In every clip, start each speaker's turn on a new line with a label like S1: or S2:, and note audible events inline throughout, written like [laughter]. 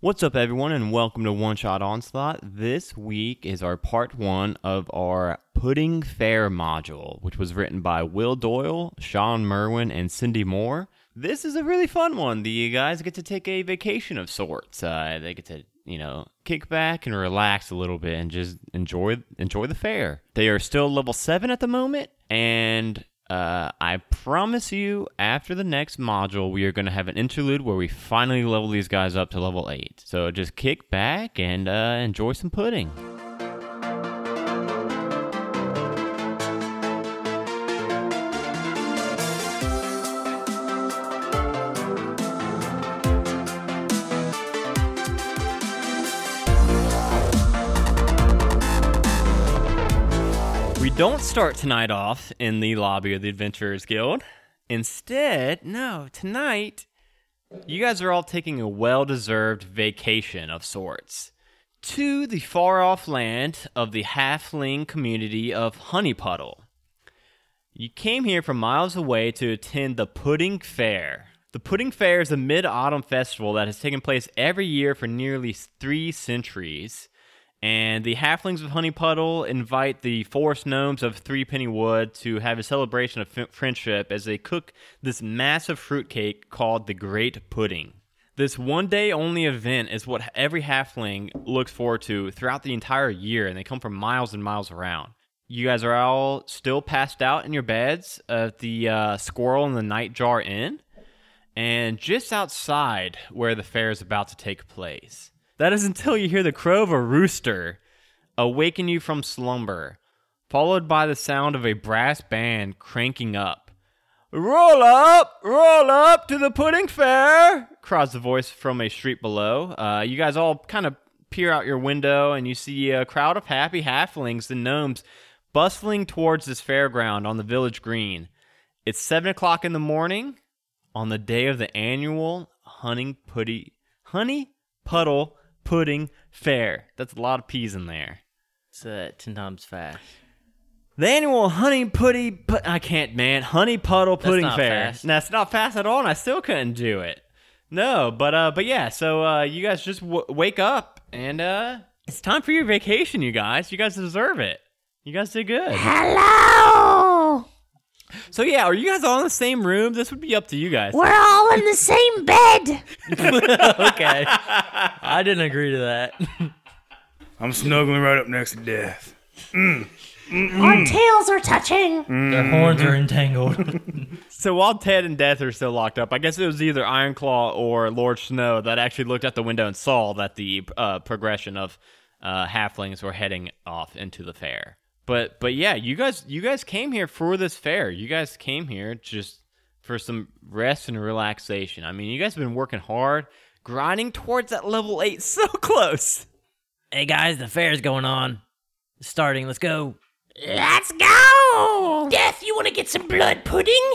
S1: What's up, everyone, and welcome to One Shot Onslaught. This week is our part one of our Pudding Fair module, which was written by Will Doyle, Sean Merwin, and Cindy Moore. This is a really fun one. The guys get to take a vacation of sorts. Uh, they get to, you know, kick back and relax a little bit and just enjoy enjoy the fair. They are still level seven at the moment, and uh, I promise you, after the next module, we are going to have an interlude where we finally level these guys up to level 8. So just kick back and uh, enjoy some pudding. We don't start tonight off in the lobby of the Adventurers Guild. Instead, no, tonight, you guys are all taking a well deserved vacation of sorts to the far off land of the halfling community of Honeypuddle. You came here from miles away to attend the Pudding Fair. The Pudding Fair is a mid autumn festival that has taken place every year for nearly three centuries. And the halflings of Honeypuddle invite the forest gnomes of Threepenny Wood to have a celebration of f- friendship as they cook this massive fruitcake called the Great Pudding. This one day only event is what every halfling looks forward to throughout the entire year, and they come from miles and miles around. You guys are all still passed out in your beds at the uh, Squirrel and the Nightjar Inn and just outside where the fair is about to take place. That is until you hear the crow of a rooster awaken you from slumber, followed by the sound of a brass band cranking up. Roll up, roll up to the pudding fair, cries the voice from a street below. Uh, you guys all kind of peer out your window and you see a crowd of happy halflings and gnomes bustling towards this fairground on the village green. It's seven o'clock in the morning on the day of the annual hunting putty honey puddle pudding fair. That's a lot of peas in there.
S2: It's uh, ten times fast.
S1: The annual honey putty put, I can't man honey puddle pudding
S2: not
S1: fair.
S2: fast.
S1: That's not fast at all, and I still couldn't do it. No, but uh, but yeah. So uh, you guys just w- wake up and uh, it's time for your vacation. You guys, you guys deserve it. You guys did
S2: [laughs]
S1: good.
S3: Hello!
S1: So yeah, are you guys all in the same room? This would be up to you guys.
S3: We're all in the same bed!
S2: Okay, I didn't agree to that.
S4: I'm snuggling right up next to death.
S5: Hmm.
S3: Our tails are touching!
S2: Their horns are entangled.
S1: So while Ted and Death are still locked up, I guess it was either Ironclaw or Lord Snow that actually looked out the window and saw that the uh, progression of uh, halflings were heading off into the fair. But but yeah, you guys you guys came here for this fair. You guys came here just for some rest and relaxation. I mean, you guys have been working hard, grinding towards that level eight, [laughs] so close.
S2: [laughs] hey guys, the fair's going on. It's starting. Let's go.
S3: Let's go! Death, you wanna get some blood pudding?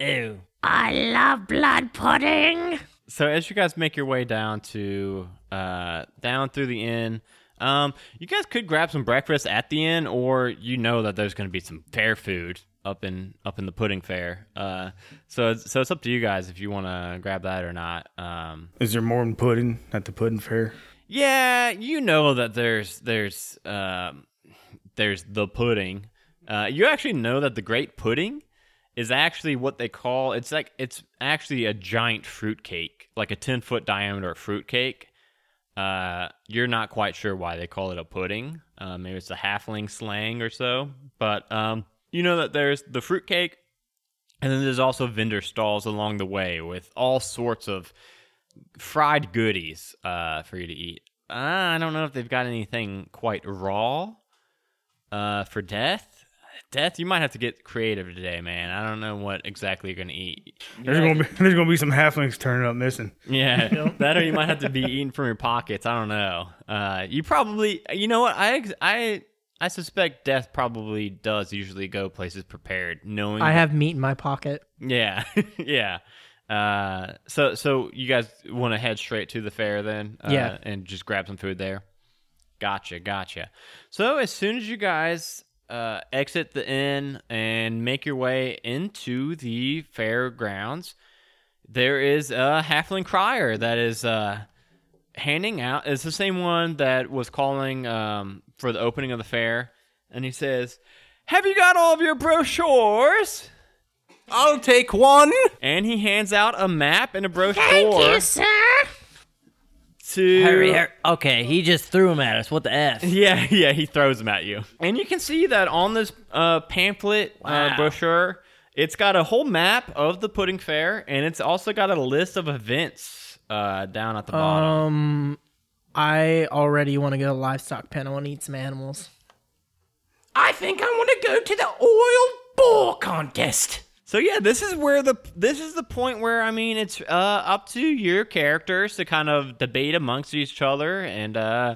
S2: Ew.
S3: I love blood pudding!
S1: so as you guys make your way down to uh down through the inn um you guys could grab some breakfast at the inn or you know that there's going to be some fair food up in up in the pudding fair uh so it's, so it's up to you guys if you want to grab that or not um
S4: Is there more than pudding at the pudding fair?
S1: yeah, you know that there's there's um, there's the pudding. Uh, you actually know that the Great Pudding is actually what they call it's like it's actually a giant fruitcake, like a ten foot diameter fruitcake. Uh, you're not quite sure why they call it a pudding. Uh, maybe it's a halfling slang or so. But um, you know that there's the fruitcake, and then there's also vendor stalls along the way with all sorts of fried goodies uh, for you to eat. Uh, I don't know if they've got anything quite raw uh, for death. Death, you might have to get creative today, man. I don't know what exactly you're gonna eat.
S4: There's gonna be [laughs] there's gonna be some halflings turning up missing.
S6: [laughs]
S1: Yeah, [laughs] that or you might have to be eating from your pockets. I don't know. Uh, you probably, you know what? I ex- I I suspect death probably does usually go places prepared, knowing
S6: I have meat in my pocket.
S1: [laughs] Yeah, [laughs] yeah. Uh, so so you guys want to head straight to the fair then? Uh,
S6: Yeah.
S1: and just grab some food there. Gotcha, gotcha. So as soon as you guys uh, exit the inn and make your way into the fairgrounds, there is a halfling crier that is uh, handing out is the same one that was calling um, for the opening of the fair, and he says, "Have you got all of your brochures?"
S6: I'll take one.
S1: And he hands out a map and a brochure
S3: sir.
S1: to
S2: Hurry, hurry. Okay, he just threw him at us. What the F?
S1: Yeah, [laughs] yeah, he throws them at you. And you can see that on this uh, pamphlet uh,
S2: Wow.
S1: brochure, it's got a whole map of the pudding fair, and it's also got a list of events uh, down at the bottom.
S7: Um, I already want to go to livestock pen. I want to eat some animals.
S3: I think I want to go to the oiled boar contest.
S1: So yeah, this is where the this is the point where I mean it's uh, up to your characters to kind of debate amongst each other and uh,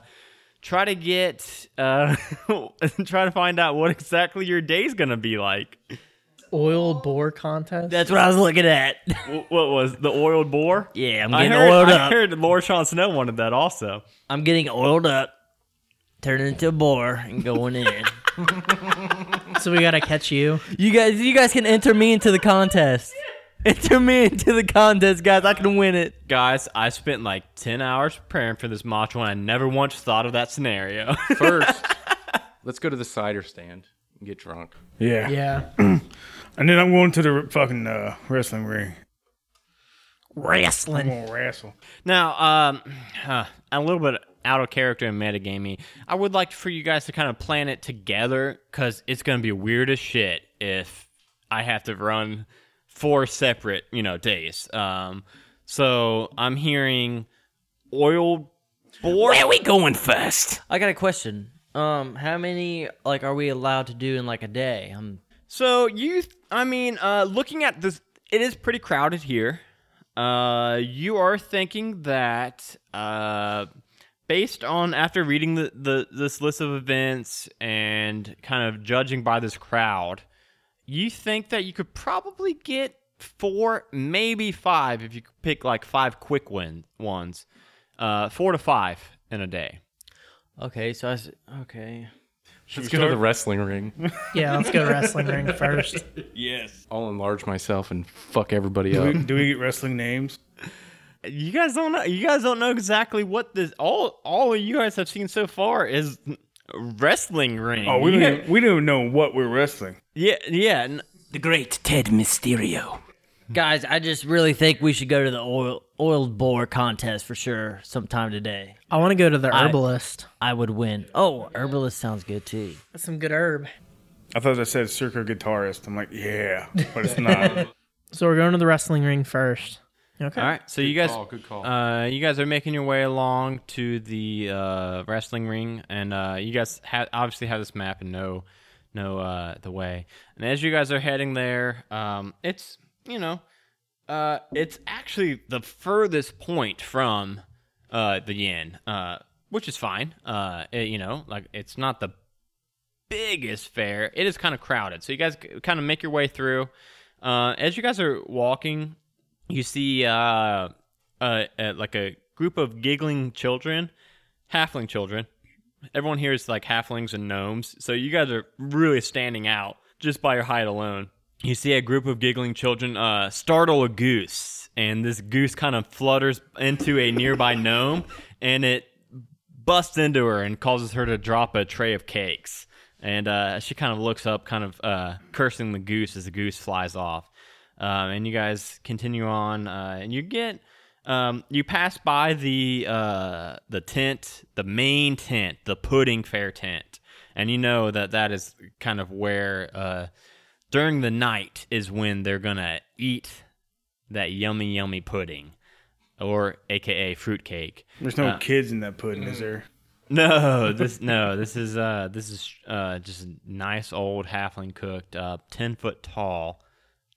S1: try to get uh, [laughs] try to find out what exactly your day's gonna be like.
S7: Oil boar contest.
S2: That's what I was looking at. [laughs]
S1: W- what was the oiled boar?
S2: yeah, I'm
S1: I
S2: getting
S1: heard,
S2: oiled
S1: I
S2: up.
S1: heard Lord Sean Snow wanted that also.
S2: I'm getting oiled up, turning into a boar and going
S3: [laughs]
S2: in.
S7: so we gotta catch you.
S2: you guys, you guys can enter me into the contest. Enter me into the contest, guys. I can win it.
S1: Guys, I spent like 10 hours preparing for this match and I never once thought of that scenario. [laughs]
S6: First, let's go to the cider stand and get drunk.
S4: Yeah.
S7: Yeah.
S4: [clears throat] And then I'm going to the fucking uh, wrestling ring. I'm
S7: Wrestling.
S4: going
S2: [laughs]
S4: to wrestle.
S1: now, um, [sighs] huh, a little bit out of character and metagamey, I would like for you guys to kind of plan it together because it's going to be weird as shit if I have to run four separate, you know, days. Um, so I'm hearing oil board.
S3: Where we going first?
S2: I got a question. Um, how many like are we allowed to do in like a day? Um,
S1: So you, I mean, uh, looking at this, it is pretty crowded here. Uh, you are thinking that, uh, based on after reading the, the this list of events and kind of judging by this crowd, you think that you could probably get four, maybe five, if you could pick like five quick win ones, uh, four to five in a day.
S2: okay, so I s- okay.
S6: Let's go to the wrestling ring.
S7: Yeah, let's go wrestling ring first.
S6: I'll enlarge myself and fuck everybody
S4: Do
S6: up.
S4: we, do we get wrestling names?
S1: you guys don't know you guys don't know exactly what this all all of you guys have seen so far is wrestling ring
S4: Oh, we
S1: You
S4: don't,
S1: guys-
S4: even, we don't even know what we're wrestling.
S1: yeah yeah n-
S3: The great Ted Mysterio.
S2: Guys, I just really think we should go to the oil oiled boar contest for sure sometime today.
S7: I want to go to the herbalist.
S2: I would win. Oh, herbalist sounds good too.
S7: That's some good herb.
S4: I thought I said circo guitarist. I'm like, yeah, but
S2: [laughs]
S4: it's not.
S7: So we're going to the wrestling ring first. Okay.
S1: all right so you guys
S6: call, good call.
S1: uh you guys are making your way along to the uh wrestling ring and uh you guys ha- obviously have this map and know know uh the way and as you guys are heading there um it's you know uh it's actually the furthest point from uh the yen uh which is fine uh it- you know like it's not the biggest fair. It is kind of crowded, so you guys kind of make your way through. Uh, as you guys are walking, you see uh, uh, uh, like a group of giggling children, halfling children. Everyone here is like halflings and gnomes, so you guys are really standing out just by your height alone. You see a group of giggling children uh, startle a goose, and this goose kind of flutters into a nearby gnome, and it busts into her and causes her to drop a tray of cakes. And uh, she kind of looks up, kind of uh, cursing the goose as the goose flies off. Um, and you guys continue on, uh, and you get um, you pass by the uh, the tent, the main tent, the pudding fair tent, and you know that that is kind of where uh, during the night is when they're gonna eat that yummy, yummy pudding, or AKA fruitcake.
S4: There's no kids in that pudding, is there?
S1: No, this no, this is uh this is uh just a nice old halfling cooked up, ten foot tall,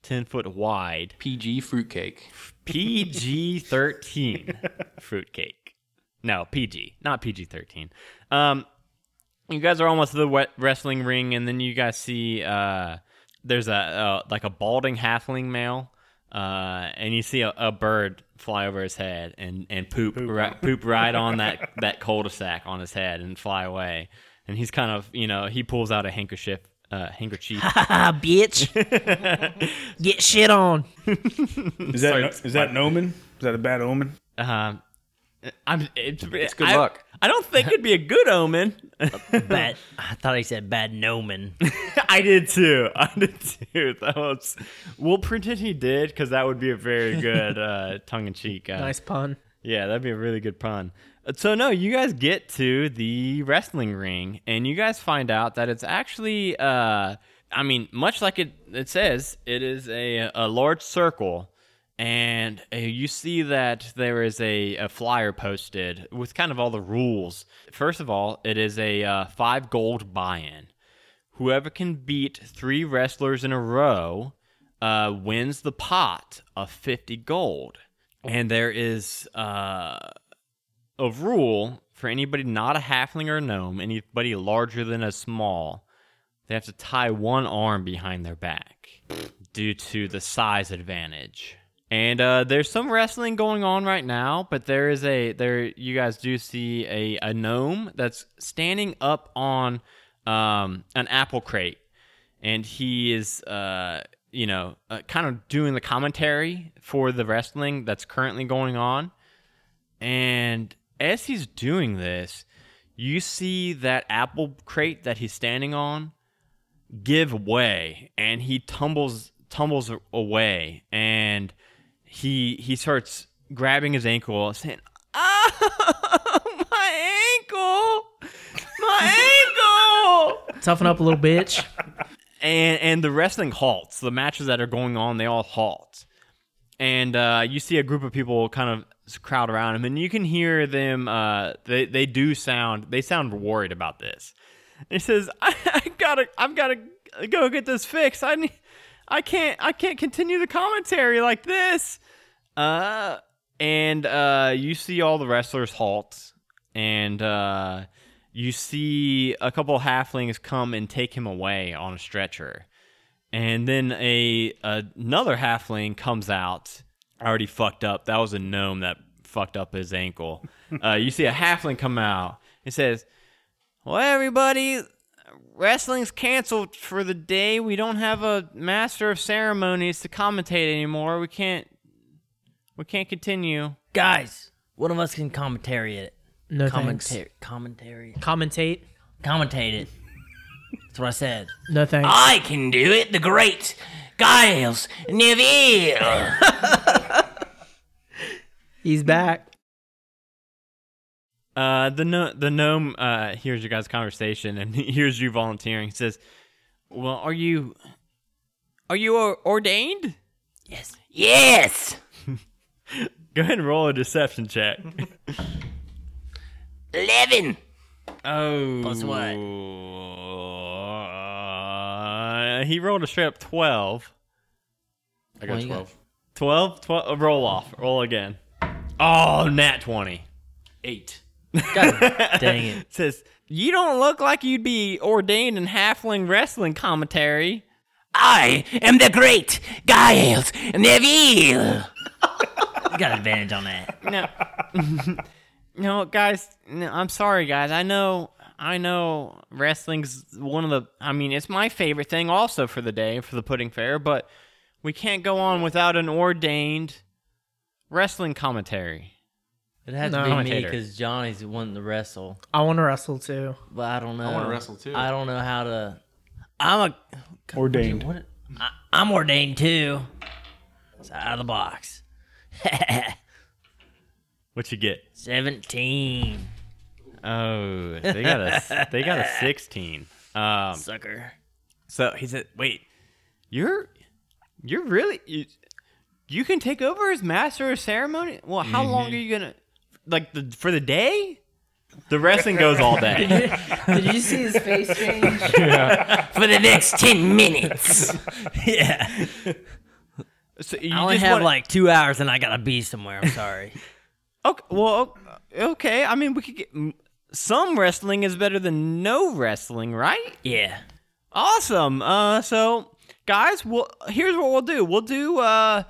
S1: ten foot wide,
S6: PG fruitcake.
S1: PG thirteen fruitcake. No, PG, not PG thirteen. Um, you guys are almost to the wet wrestling ring, and then you guys see uh, there's a uh, like a balding halfling male, uh, and you see a, a bird fly over his head and and poop poop right, poop right on that that cul-de-sac on his head and fly away, and he's kind of you know he pulls out a handkerchief uh, handkerchief.
S2: Ah,
S7: [laughs]
S2: bitch.
S7: Get shit on.
S2: Mm.
S4: Is that, is that an omen? Is that a bad omen?
S1: Um, I'm, it's, it's
S6: good
S1: I,
S6: luck.
S1: I don't think it'd be a good
S6: [laughs]
S1: omen.
S2: Bad. I thought he said bad nomen.
S1: I did too. [laughs] I did too. That was. We'll pretend he did because that would be a very good uh, tongue in cheek. Uh,
S7: Nice pun.
S1: Yeah, that'd be a really good pun. Uh, So no, you guys get to the wrestling ring, and you guys find out that it's actually, uh, I mean, much like it it says, it is a a large circle, and uh, you see that there is a, a flyer posted with kind of all the rules. First of all, it is a uh, five gold buy-in. Whoever can beat three wrestlers in a row uh, wins the pot of 50 gold. And there is uh, a rule for anybody not a halfling or a gnome, anybody larger than a small, they have to tie one arm behind their back due to the size advantage. And uh, there's some wrestling going on right now, but there is a there you guys do see a, a gnome that's standing up on um, an apple crate, and he is uh, you know uh, kind of doing the commentary for the wrestling that's currently going on. And as he's doing this, you see that apple crate that he's standing on give way and he tumbles tumbles away and he he starts grabbing his ankle saying [laughs] ah my ankle my ankle
S7: Toughen up a little, bitch.
S1: and and the wrestling halts. The matches that are going on, they all halt. And uh, you see a group of people kind of crowd around him, and you can hear them. Uh, they they do sound they sound worried about this. And he says, [laughs] I, "I gotta, I've gotta go get this fixed. I need, I can't, I can't continue the commentary like this." Uh, and uh, you see all the wrestlers halt, and uh, you see a couple halflings come and take him away on a stretcher, and then a another halfling comes out already fucked up. That was a gnome that fucked up his ankle. uh, you see a halfling come out and says, "Well, everybody." Wrestling's canceled for the day. We don't have a master of ceremonies to commentate anymore. We can't we can't continue.
S2: Guys, one of us can commentary it.
S7: No thanks.
S2: Commentary. Commentary.
S7: Commentate.
S2: Commentate it. That's what I said.
S7: No thanks.
S3: I can do it, the great Giles Neville.
S7: He's back.
S1: Uh, the no- the gnome uh, hears your guys' conversation and [laughs] he hears you volunteering. He says, "Well, are you are you or- ordained?
S3: yes.
S1: Go ahead and roll a deception check."
S3: 11.
S1: oh,
S2: Plus what?
S1: Uh, he rolled a straight up twelve.
S6: I got
S2: Well, you got-
S1: 12?
S6: 12.
S1: 12 uh, roll off. Roll again. Oh, nat 20.
S6: Eight.
S1: [laughs]
S2: Dang it.
S1: Says, You don't look like you'd be ordained in halfling wrestling commentary.
S3: I am the great Giles Neville.
S2: You got advantage on that.
S1: no, no, guys. No, I'm sorry, guys. I know, I know, wrestling's one of the. I mean, it's my favorite thing, also for the day for the pudding fair. But we can't go on without an ordained wrestling commentary.
S2: It has
S7: No.
S2: to be me
S1: Commentator.
S2: because Johnny's wanting to wrestle,
S7: I want to wrestle too.
S2: but I don't know. I
S6: wanna wrestle, too.
S2: I don't know how to. I'm a.
S4: Ordained.
S2: What? I, I'm ordained too. It's out of the box. [laughs]
S1: What you get?
S2: Seventeen,
S1: Oh, they got a, they [laughs] got a sixteen. Um,
S2: sucker.
S1: so he said, "Wait, you're, you're really you, you can take over as master of ceremony. Well, how
S2: Mm-hmm.
S1: long are you gonna, like, the for the day?" The wrestling goes all
S2: [laughs]
S1: day.
S2: Did you see his face [laughs] change?
S3: For the next 10 minutes.
S2: [laughs] yeah.
S1: So you
S2: I only
S1: just
S2: have
S1: wanna-
S2: like two hours, and I gotta be somewhere. I'm [laughs] sorry.
S1: okay, well, o- okay. I mean, we could get m- some wrestling is better than no wrestling, right?
S2: yeah.
S1: Awesome. Uh, so guys, we'll here's what we'll do. We'll do uh,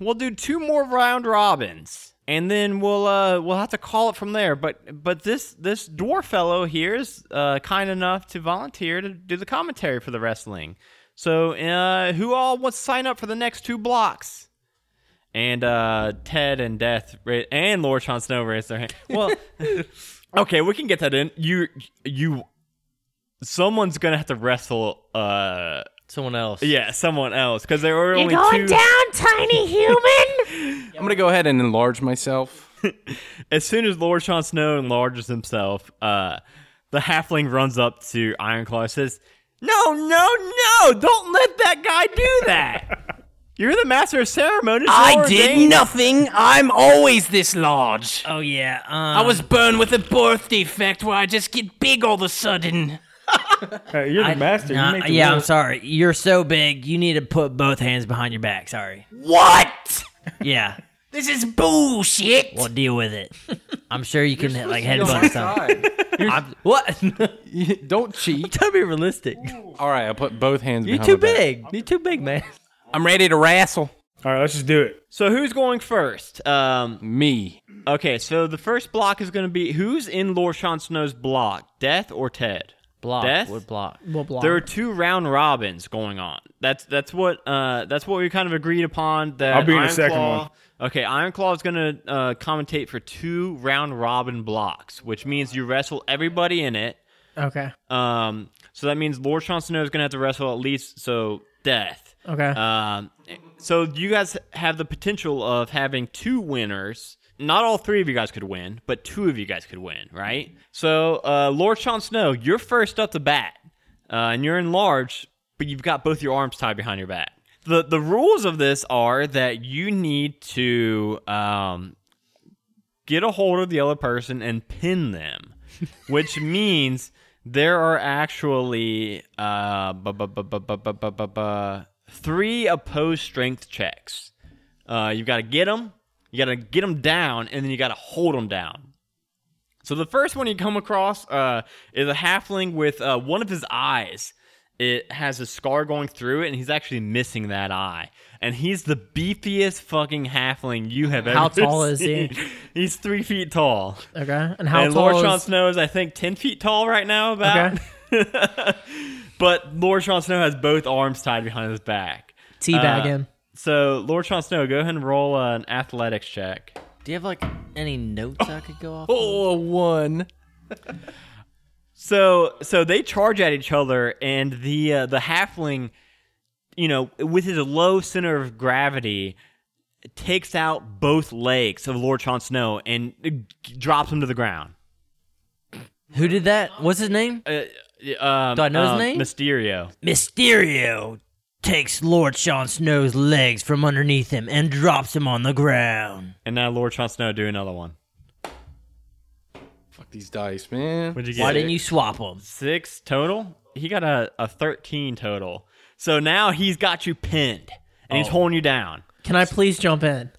S1: we'll do two more round robins, and then we'll uh, we'll have to call it from there. But but this this dwarf fellow here is uh, kind enough to volunteer to do the commentary for the wrestling. So uh, who all wants to sign up for the next two blocks? And uh, Ted and Death ra- and Lord Jon Snow raised their hand. Well, [laughs] okay, we can get that in. You, you, someone's gonna have to wrestle. Uh,
S2: Someone else.
S1: yeah, someone else because there were
S3: You're
S1: only
S3: going
S1: two.
S3: down,
S5: [laughs]
S3: tiny human.
S6: I'm gonna go ahead and enlarge myself.
S1: As soon as Lord Jon Snow enlarges himself, uh, the halfling runs up to Ironclaw and says, "No, no, no! Don't let that guy do that. You're the master of ceremonies. You're
S5: I did
S1: ordained."
S5: nothing. I'm always this large.
S2: Oh yeah. Um,
S5: I was born with a birth defect where I just get big all of a sudden.
S4: Hey, you're the master.
S2: Nah,
S4: you make the
S2: yeah, I'm
S4: rules.
S2: sorry. You're so big. You need to put both hands behind your back. Sorry.
S5: What?
S2: Yeah.
S5: This is bullshit.
S2: Well, deal with it. [laughs] I'm sure you can like headbutt something. I'm- What? [laughs] Don't
S6: Don't cheat.
S2: be realistic.
S6: All right, I'll put both hands.
S2: You're
S6: behind
S2: too
S6: my back.
S2: big. You're too big, man.
S5: I'm ready to wrestle.
S4: All right, let's just do it.
S1: So who's going first? Um,
S6: Me.
S1: okay, so the first block is going to be who's in Lord Jon Snow's block, Death or Ted?
S2: Block.
S1: Death?
S2: Would block.
S7: Blah, blah.
S1: There are two round robins going on. That's that's what uh, that's what we kind of agreed upon. That
S4: I'll be in the
S1: Ironclaw-
S4: second one.
S1: Okay, Ironclaw is going to uh, commentate for two round robin blocks, which means you wrestle everybody in it.
S7: okay.
S1: Um, so that means Lord Jon Snow is going to have to wrestle at least so Death.
S7: Okay.
S1: Um, so you guys have the potential of having two winners. Not all three of you guys could win, but two of you guys could win, right? So, uh, Lord Sean Snow, you're first up to bat, uh, and you're enlarged, but you've got both your arms tied behind your back. the The rules of this are that you need to um, get a hold of the other person and pin them, which means there are actually uh, bu- bu- bu- bu- bu- bu- bu- bu- bu- three opposed strength checks. Uh, you got to get them, you got to get them down, and then you got to hold them down. So the first one you come across uh, is a halfling with uh, one of his eyes. It has a scar going through it, and he's actually missing that eye. And he's the beefiest fucking halfling you have ever
S7: How tall is
S1: seen. [laughs]
S7: he?
S1: He's three feet tall.
S7: okay. And how
S1: and
S7: tall
S1: Lord Jon
S7: is-
S1: Snow is, I think, 10 feet tall right now, about. [laughs] but Lord Jon Snow has both arms tied behind his back.
S7: Teabag
S1: Uh,
S7: him.
S1: So, Lord Jon Snow, go ahead and roll uh, an athletics check.
S2: Do you have like any notes I could go off?
S6: Oh, one.
S1: So, so they charge at each other, and the uh, the halfling, you know, with his low center of gravity, takes out both legs of Lord Jon Snow and uh, g- drops him to the ground.
S2: Who did that? What's his name?
S1: Uh, um,
S2: Do I know his
S1: um,
S2: name?
S1: Mysterio.
S2: Mysterio takes Lord Sean Snow's legs from underneath him and drops him on the ground.
S1: And now Lord Jon Snow do another one.
S6: Fuck these dice, man.
S1: What'd you get?
S2: Why didn't you swap them?
S1: Six total. He got a, a thirteen total. So now he's got you pinned and he's holding you down.
S7: Can I please jump in?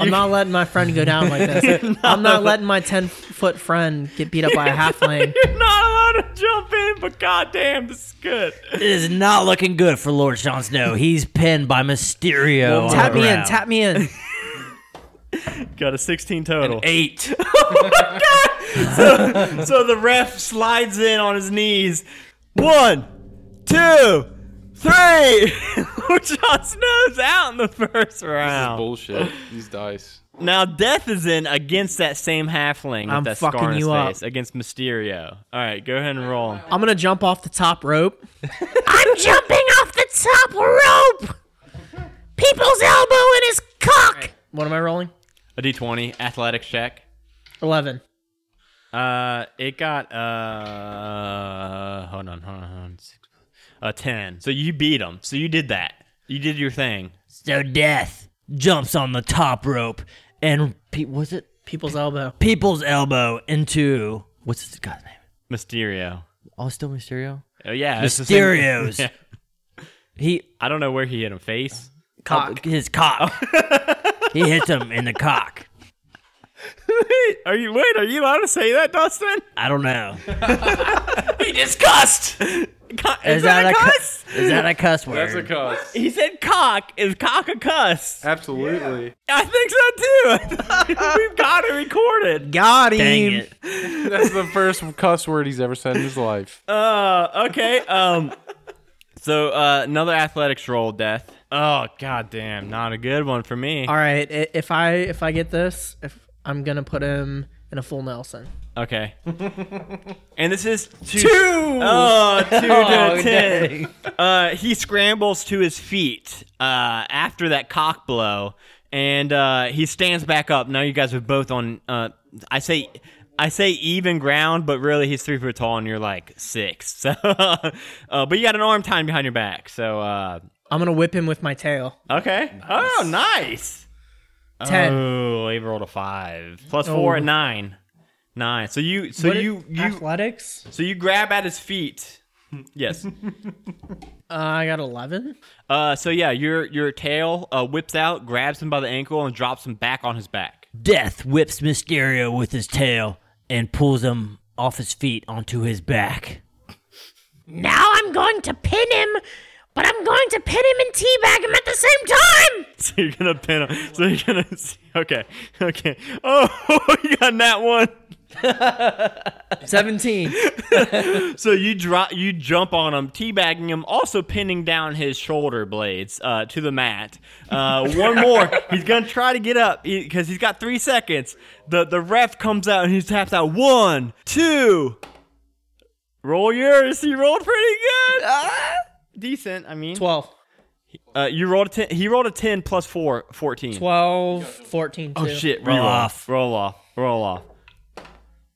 S7: I'm not letting my friend go down like
S1: [laughs]
S7: this. I'm not letting my 10 foot friend get beat up by a
S1: [laughs]
S7: halfling. [laughs]
S1: You're not allowed to jump in, but goddamn, this is good.
S2: It is not looking good for Lord Sean Snow. He's pinned by Mysterio. on
S7: tap
S2: the
S7: me in.
S2: ground.
S7: Tap me
S1: [laughs]
S7: in.
S1: Got a sixteen total. [laughs] Oh
S5: Eight.
S1: so the ref slides in on his knees. One, two, three. [laughs] Lord Jon Snow's out in the first
S2: Oh.
S1: round.
S6: Bullshit. These dice.
S1: Now death is in against that same halfling with
S7: I'm
S1: that scar on
S7: fucking
S1: his
S7: you up.
S1: face against Mysterio. All right, go ahead and roll. him.
S7: I'm going to jump off the top rope.
S3: [laughs] I'm jumping off the top rope. People's elbow in his cock.
S7: What am I rolling?
S1: A d20 athletics check.
S7: 11.
S1: Uh, it got uh, hold on, hold on, hold on. Six, a ten. So you beat him. So you did that. You did your thing.
S2: So Death jumps on the top rope and pe- was it
S7: People's elbow.
S2: People's Elbow into what's his guy's name?
S1: Mysterio.
S2: Oh, it's still Mysterio.
S1: Oh yeah, it's the same-
S2: Mysterio's.
S1: Yeah.
S2: He
S1: [laughs] I don't know where he hit him. Face.
S2: cock. Oh. his cock. [laughs] he hits him in the cock.
S1: Are you wait? Are you allowed to say that, Dustin?
S2: I
S1: [laughs]
S2: don't know.
S5: He discussed.
S1: Is, that, a
S2: cu-
S1: cuss?
S2: is that a cuss word?
S6: That's
S2: [laughs]
S6: a cuss.
S1: He said cock. Is cock a cuss?
S6: Absolutely.
S1: I think so too. [laughs] We've got it recorded.
S7: Got him.
S2: Dang it.
S6: That's the first cuss word he's ever said in his life.
S1: Uh, okay. Um, So uh, another athletics roll, death. Oh goddamn, not a good one for me.
S7: All right, i- if I if I get this, if I'm gonna put him in a full Nelson.
S1: Okay. and this is two. Oh, two to a ten. Uh, he scrambles to his feet uh, after that cock blow, and uh, he stands back up. Now you guys are both on. Uh, I say. I say even ground, but really he's three foot tall and you're like six. [laughs] So, uh, but you got an arm tied behind your back. So, uh,
S7: I'm gonna whip him with my tail.
S1: okay. Oh, nice.
S7: Ten.
S1: Oh, he rolled a five plus four
S7: Oh.
S1: and nine. Nine. So you, so
S7: What i-
S1: you, you,
S7: athletics?
S1: so you grab at his
S7: [laughs]
S1: feet. Yes.
S7: Uh, I got eleven.
S1: uh, so yeah, your your tail uh, whips out, grabs him by the ankle, and drops him back on his back.
S2: Death whips Mysterio with his tail and pulls him off his feet onto his back.
S3: Now I'm going to pin him, but I'm going to pin him and teabag him at the same time.
S1: [laughs] So you're gonna pin him. So you're gonna. [laughs] Okay. Okay. Oh, [laughs] you got that one. [laughs]
S7: Seventeen.
S1: So you drop, you jump on him, teabagging him, also pinning down his shoulder blades uh, to the mat. [laughs] Uh, one more, he's gonna try to get up because he, has got three seconds. The the ref comes out and he taps out one, two. Roll yours. He rolled pretty good. Ah, decent. I mean,
S7: Twelve.
S1: uh, you rolled a ten. He rolled a ten plus four, 14.
S7: Twelve. Fourteen.
S1: Oh
S7: too.
S1: shit!
S2: Roll
S1: Roll
S2: off.
S1: off. Roll off. Roll off.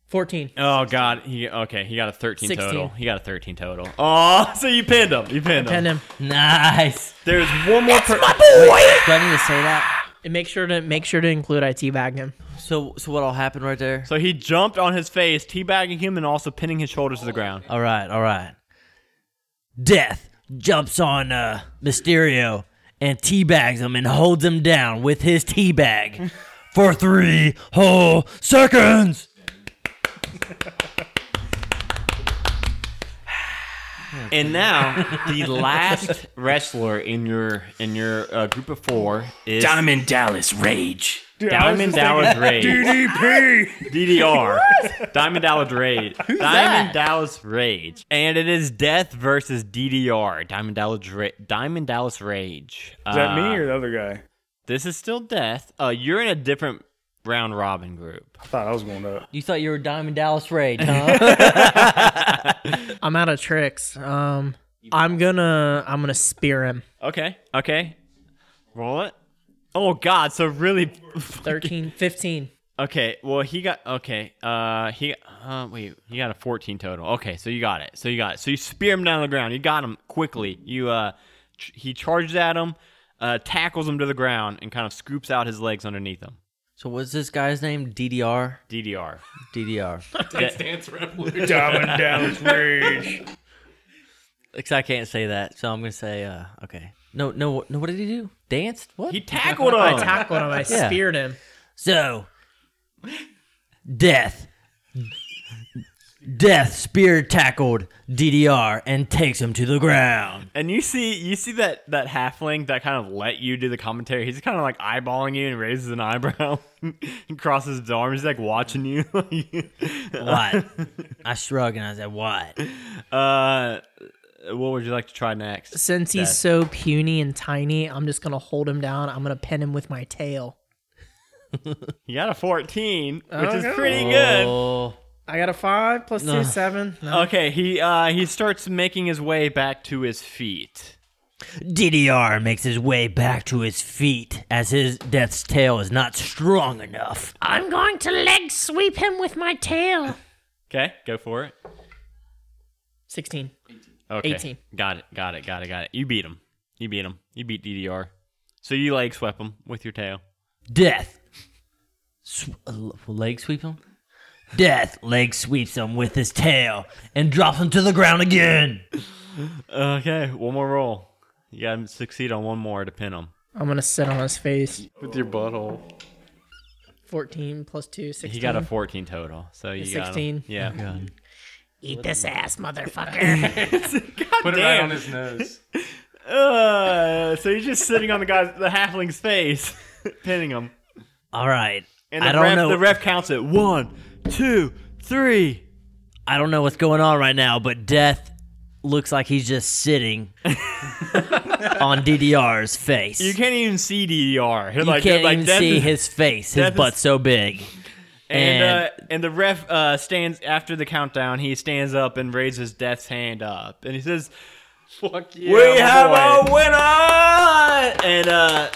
S7: Fourteen.
S1: Oh god. He okay. He got a thirteen
S7: 16.
S1: total. He got a thirteen total. Oh, [laughs] so you pinned him. You pinned him.
S7: Pin him.
S2: Nice.
S1: There's one more. Per-
S2: Do I need to say that?
S7: And [sighs] make sure to make sure to include I teabag him.
S2: So, so what'll happen right there?
S1: so he jumped on his face, teabagging him and also pinning his shoulders to the ground.
S2: All right, all right. Death jumps on uh, Mysterio and teabags him and holds him down with his [laughs] teabag for three whole seconds.
S1: And now the last wrestler in your in your uh, group of four is
S5: Diamond Dallas Rage.
S4: Dude, I was
S1: Diamond
S4: just thinking
S5: [laughs]
S1: Dallas Rage.
S4: DDP.
S1: DDR. Diamond Dallas Rage. Diamond Dallas Rage. And it is Death versus DDR. Diamond Dallas Ra- Diamond Dallas Rage. Uh,
S4: Is that
S2: Uh,
S4: me or the other guy?
S1: This is still Death. Uh, you're in a different round robin group.
S4: I thought I was going up.
S2: You thought you were Diamond Dallas
S7: [laughs]
S2: Raid, huh?
S7: I'm out of tricks. Um, I'm gonna I'm gonna spear him.
S1: Okay. Okay. Roll it. Oh God! So really. [laughs]
S7: 13, 15.
S1: Okay. Well, he got okay. Uh, he uh wait. He got a 14 total. Okay, so you got it. So you got it. So you spear him down to the ground. You got him quickly. You uh, ch- he charges at him, uh, tackles him to the ground, and kind of scoops out his legs underneath him.
S2: so what's this guy's name? DDR?
S1: DDR.
S2: DDR.
S6: Dance revolution.
S4: Diamond Dallas Rage.
S2: Because I can't say that, so I'm gonna say uh, okay. No, no, no. What did he do? Danced? What?
S1: He tackled
S7: [laughs]
S1: him.
S7: I tackled him. I speared him.
S2: So, death. Death spear tackled DDR and takes him to the ground.
S1: And you see, you see that that halfling that kind of let you do the commentary. He's kind of like eyeballing you and raises an eyebrow [laughs] and crosses his arms. He's like watching you. [laughs]
S2: What? I shrug and I said, "What?"
S1: uh, what would you like to try next?
S7: Since he's so puny and tiny, I'm just gonna hold him down. I'm gonna pin him with my tail.
S1: You got a fourteen, which
S7: Okay.
S1: is pretty good.
S2: Oh,
S7: I got a five plus two seven.
S1: Okay, he uh, he starts making his way back to his feet.
S2: DDR makes his way back to his feet as his death's tail is not strong enough.
S3: I'm going to leg sweep him with my tail.
S1: Okay, go for it.
S7: Sixteen.
S1: Okay,
S7: 18.
S1: Got it. Got it. Got it. Got it. You beat him. You beat him. You beat DDR. So you leg swept him with your tail.
S2: Death. Sw- uh, l- leg sweep him? Death leg sweeps him with his tail and drops him to the ground again.
S1: Okay, one more roll. You gotta succeed on one more to pin him.
S7: I'm gonna sit on his face.
S6: With your butthole.
S7: Fourteen plus two, sixteen.
S1: He got a 14 total, so you got him.
S7: 16.
S1: Yeah.
S3: Eat this
S2: [laughs]
S3: ass, motherfucker.
S6: Put it right on his nose.
S1: Uh, so he's just sitting on the guy's, the halfling's face, [laughs] pinning him.
S2: All right.
S1: And the
S2: I don't
S1: ref,
S2: know.
S1: the ref counts it. One, two, three.
S2: I don't know what's going on right now, but Death looks like he's just
S1: [laughs]
S2: sitting on DDR's face.
S1: You can't even see DDR. They're
S2: You
S1: like, they're
S2: can't
S1: like,
S2: even
S1: "That's-
S2: see his face. His
S1: death is-
S2: butt's so big.
S1: And uh, and the ref uh, stands after the countdown. He stands up and raises Death's hand up, and he says,
S6: Fuck you.
S1: "We have a winner!" And uh,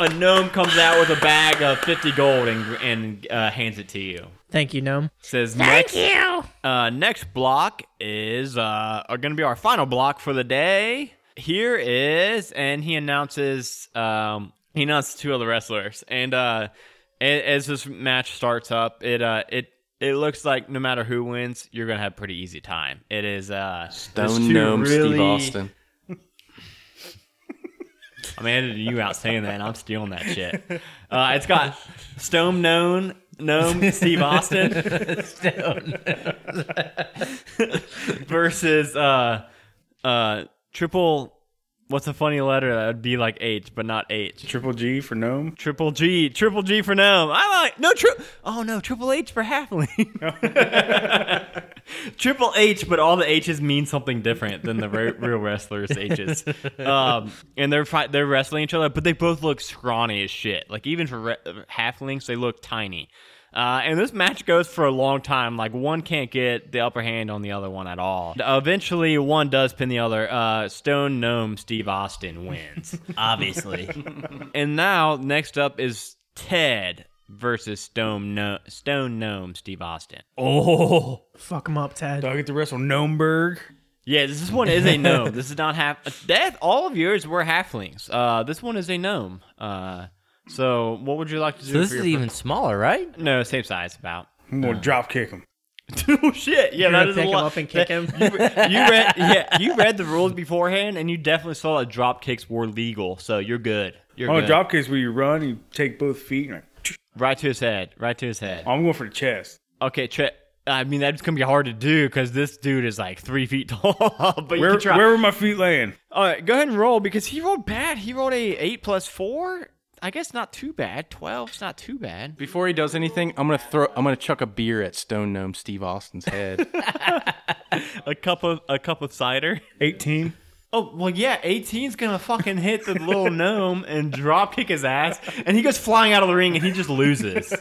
S1: a gnome comes out with a bag of fifty gold and and uh, hands it to you.
S7: Thank you, gnome.
S1: Says, "Next,
S3: Thank you.
S1: uh, next block is uh, are going to be our final block for the day. Here is, and he announces um, he announces two other wrestlers, and uh, a- as this match starts up, it uh, it it looks like no matter who wins, you're going to have a pretty easy time. It is uh, there's
S6: Stone
S1: two
S6: Gnome Steve
S1: really-
S6: Austin.
S1: I'm editing you out saying that, and I'm stealing that shit. Uh, it's got Stone Known Gnome Steve Austin [laughs] versus uh, uh, triple. What's a funny letter that would be like H, but not H?
S4: [laughs] Triple G for gnome.
S1: Triple G, triple G for gnome. I like no tri- Oh no, triple H for halfling. [laughs] triple H, but all the H's mean something different than the re- real wrestlers' H's. Um, and they're fi- they're wrestling each other, but they both look scrawny as shit. Like even for re- halflings, they look tiny. Uh, and this match goes for a long time. Like one can't get the upper hand on the other one at all. Eventually, one does pin the other. Uh, Stone Gnome Steve Austin wins. [laughs]
S2: Obviously.
S1: And now next up is Ted versus Stone no- Stone Gnome Steve Austin.
S2: oh.
S7: Fuck him up, Ted.
S4: Do I get to wrestle Gnomeberg?
S1: Yeah, this one is a gnome. this is not half death. All of yours were halflings. Uh, this one is a gnome. Uh, so what would you like to do?
S2: So this
S1: for
S2: is
S1: your
S2: even smaller, right?
S1: fir- no same size about. [laughs]
S4: I'm gonna drop kick him.
S1: oh shit! Yeah, that
S7: gonna
S1: is a
S7: pick him
S1: lot.
S7: up and kick [laughs] him?
S1: [laughs] You, you read, yeah, you read the rules beforehand, and you definitely saw that drop kicks were legal. So you're good. You're
S4: Oh,
S1: good.
S4: drop kicks where you run, you take both feet. And like,
S1: right to his head. Right to his head.
S4: I'm going for the chest.
S1: Okay, Tre- I mean that's gonna be hard to do because this dude is like three feet [laughs] tall. but you
S4: Where,
S1: can try.
S4: where were my feet laying?
S1: All right, go ahead and roll because he rolled bad. He rolled a eight plus four. I guess not too bad. Twelve's not too bad.
S6: Before he does anything, I'm gonna throw. I'm gonna chuck a beer at Stone Gnome Steve Austin's [laughs] head.
S1: A cup of a cup of cider.
S4: 18.
S1: Oh well, yeah. 18's gonna fucking hit the [laughs] little gnome and drop kick his ass, and he goes flying out of the ring and he just loses.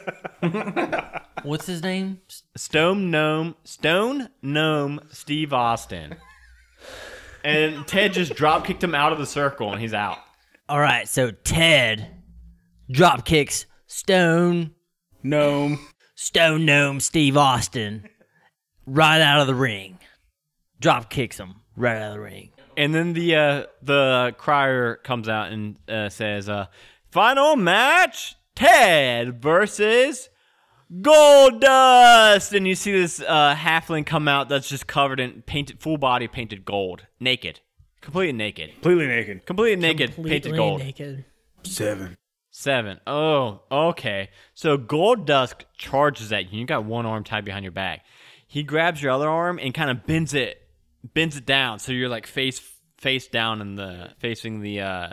S2: What's his name?
S1: Stone Gnome, Stone Gnome Steve Austin, and Ted just drop kicked him out of the circle and he's out.
S2: All right, so Ted drop kicks Stone
S4: Gnome.
S2: Stone Gnome Steve Austin right out of the ring. Drop kicks him right out of the ring.
S1: And then the uh, the crier comes out and uh, says, uh, "Final match: Ted versus Gold Dust." And you see this uh, halfling come out that's just covered in painted, full body painted gold, naked, completely naked,
S4: Completely naked.
S1: completely naked, painted
S7: Completely
S1: gold.
S7: naked.
S4: Seven.
S1: Seven. Oh, okay. So Gold Dusk charges at you. You got one arm tied behind your back. He grabs your other arm and kind of bends it, bends it down. So you're like face face down in the facing the uh,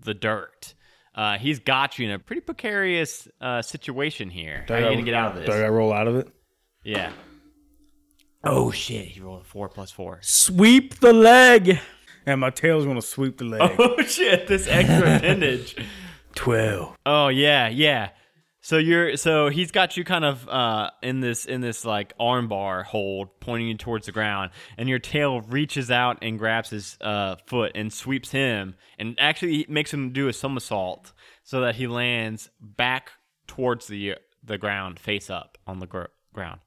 S1: the dirt. Uh, he's got you in a pretty precarious uh, situation here. How are you gonna get out of
S4: Do I
S1: this?
S4: gotta roll out of it?
S1: Yeah. Oh shit! He rolled a four plus four.
S7: Sweep the leg.
S4: And my tail's gonna sweep the leg.
S1: [laughs] Oh shit! This extra [laughs] appendage.
S4: 12.
S1: Oh yeah, yeah. So you're so he's got you kind of uh, in this in this like armbar hold, pointing you towards the ground, and your tail reaches out and grabs his uh, foot and sweeps him, and actually makes him do a somersault so that he lands back towards the the ground, face up on the gr- ground.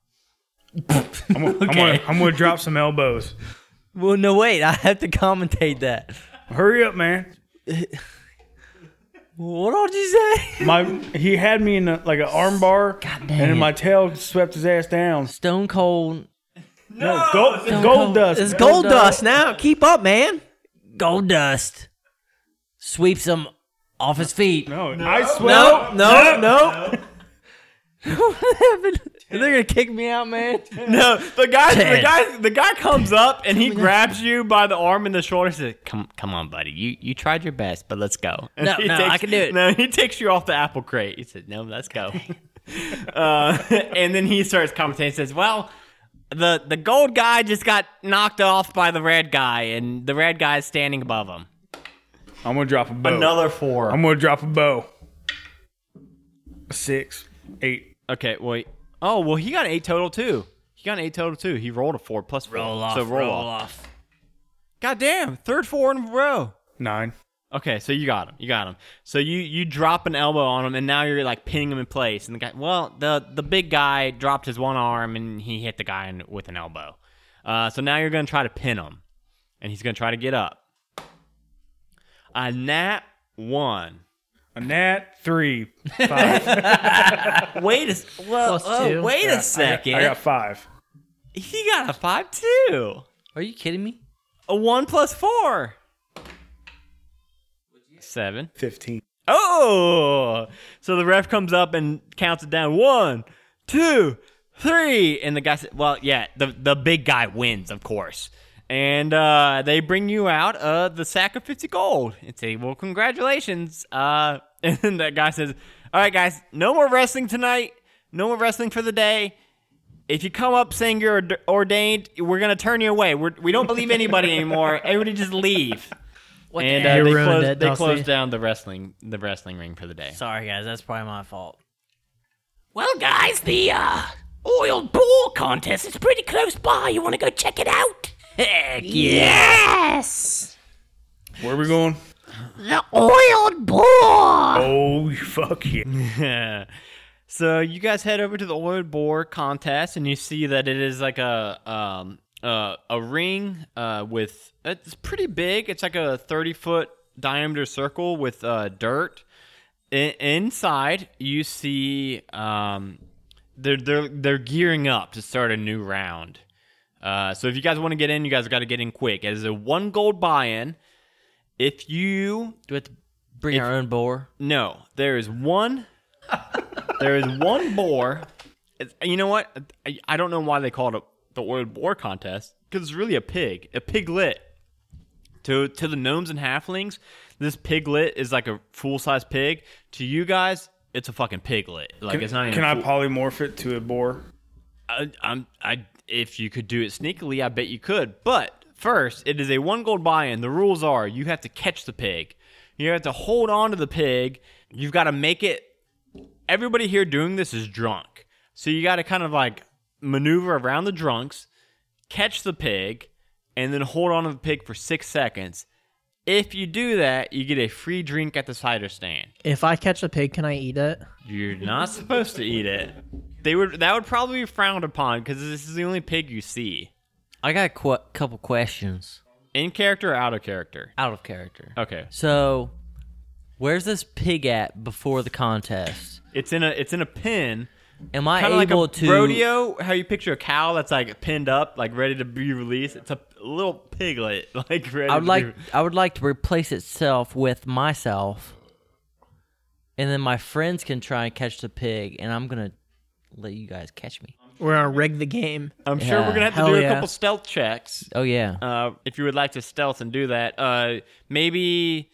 S4: I'm gonna, I'm, gonna, I'm gonna drop some elbows.
S2: Well, no, wait, I have to commentate that.
S4: Hurry up, man.
S2: What did you say?
S4: My he had me in a, like an arm bar, and then
S2: it.
S4: my tail swept his ass down.
S2: Stone Cold
S4: No, gold, gold dust.
S7: It's gold dust now. Keep up, man.
S2: Gold Dust sweeps him off his feet.
S4: No, Oh, I swear.
S7: No, no, no.
S2: [laughs] They're gonna kick me out, man.
S1: No, the guy, the
S2: Ted.
S1: guy, the guy comes up and he grabs you by the arm and the shoulder. and Says, "Come, come on, buddy. You you tried your best, but let's go." And
S2: No,
S1: he
S2: no, I can do it.
S1: No, he takes you off the apple crate.
S2: [laughs]
S1: He said, "No, let's go." uh, and then he starts commentating. Says, "Well, the the gold guy just got knocked off by the red guy, and the red guy is standing above him.
S4: I'm gonna drop a bow.
S1: Another 4
S4: I'm gonna drop a bow. A six, eight.
S1: okay, wait. Oh well, he got an eight total too. He got an eight total too. He rolled a four plus four.
S2: Roll off.
S1: So roll, off.
S2: off.
S1: Goddamn, third four in a row.
S4: Nine.
S1: Okay, so you got him. You got him. So you you drop an elbow on him, and now you're like pinning him in place. And the guy, well, the the big guy dropped his one arm, and he hit the guy in, with an elbow. Uh, so now you're gonna try to pin him, and he's gonna try to get up. A nat one.
S4: A nat three. Five.
S1: [laughs] Wait a s- [laughs] well,
S7: Plus
S1: oh,
S7: two.
S1: wait
S4: Yeah, I
S1: a
S4: got-
S1: second.
S4: I got five.
S1: he got a five two.
S2: Are you kidding me?
S1: A one plus four. Seven.
S4: Fifteen.
S1: Oh! So the ref comes up and counts it down. One, two, three. And the guy said, well, yeah, the, the big guy wins, of course. And uh, they bring you out uh, the sack of 50 gold and say, well, congratulations. Uh, [laughs] and then that guy says, all right, guys, no more wrestling tonight. No more wrestling for the day. If you come up saying you're ord- ordained, we're going to turn you away. We're, we don't believe anybody anymore. Everybody just leave. and uh,
S7: You
S1: they,
S7: ruined
S1: closed,
S7: it,
S1: they
S7: Dusty.
S1: closed down the wrestling the wrestling ring for the day.
S2: Sorry, guys. That's probably my fault.
S5: Well, guys, the uh, oil ball contest is pretty close
S3: Oh,
S5: by. You want to go check it out?
S2: Heck yeah.
S3: Yes!
S4: Where are we going?
S3: The oiled boar!
S4: Oh fuck yeah!
S1: [laughs] so you guys head over to the oil bore contest, and you see that it is like a um uh, a ring uh with it's pretty big. It's like a thirty foot diameter circle with uh dirt. I- inside, you see um they're they're they're gearing up to start a new round. Uh, so if you guys want to get in, you guys got to get in quick. As a one gold buy-in, if you
S2: Do we have to bring our own boar?
S1: no, there is one. there is one boar. It's, you know what? I, I don't know why they call it a, the word boar contest because it's really a pig, a piglet. To to the gnomes and halflings, this piglet is like a full size pig. To you guys, it's a fucking piglet. Like
S4: Can,
S1: it's not. Even
S4: can
S1: a
S4: I
S1: full-
S4: polymorph it to a boar?
S1: I, I'm I if you could do it sneakily, I bet you could. But first, it is a one gold buy-in. The rules are you have to catch the pig, you have to hold on to the pig, you've got to make it. Everybody here doing this is drunk, so you got to kind of like maneuver around the drunks, catch the pig, and then hold on to the pig for six seconds. If you do that, you get a free drink at the cider stand.
S7: If I catch a pig, can I eat it?
S1: You're not supposed to eat it. They would that would probably be frowned upon because this is the only pig you see.
S2: I got a qu- couple questions
S1: In character or out of character?
S2: out of character.
S1: Okay.
S2: So, where's this pig at before the contest?
S1: It's in a it's in a pin.
S2: Am I
S1: Kind of like
S2: able
S1: a
S2: to
S1: rodeo, how you picture a cow that's like pinned up, like ready to be released. It's a little piglet, [laughs] like ready
S2: I would
S1: to
S2: [laughs] like
S1: be-
S2: I would like to replace itself with myself, and then my friends can try and catch the pig, and I'm gonna let you guys catch me.
S7: We're gonna rig the game.
S1: I'm sure
S2: Yeah.
S1: we're gonna have to
S7: Hell
S1: do a
S7: yeah.
S1: couple stealth checks.
S2: Oh yeah,
S1: Uh, if you would like to stealth and do that, uh, maybe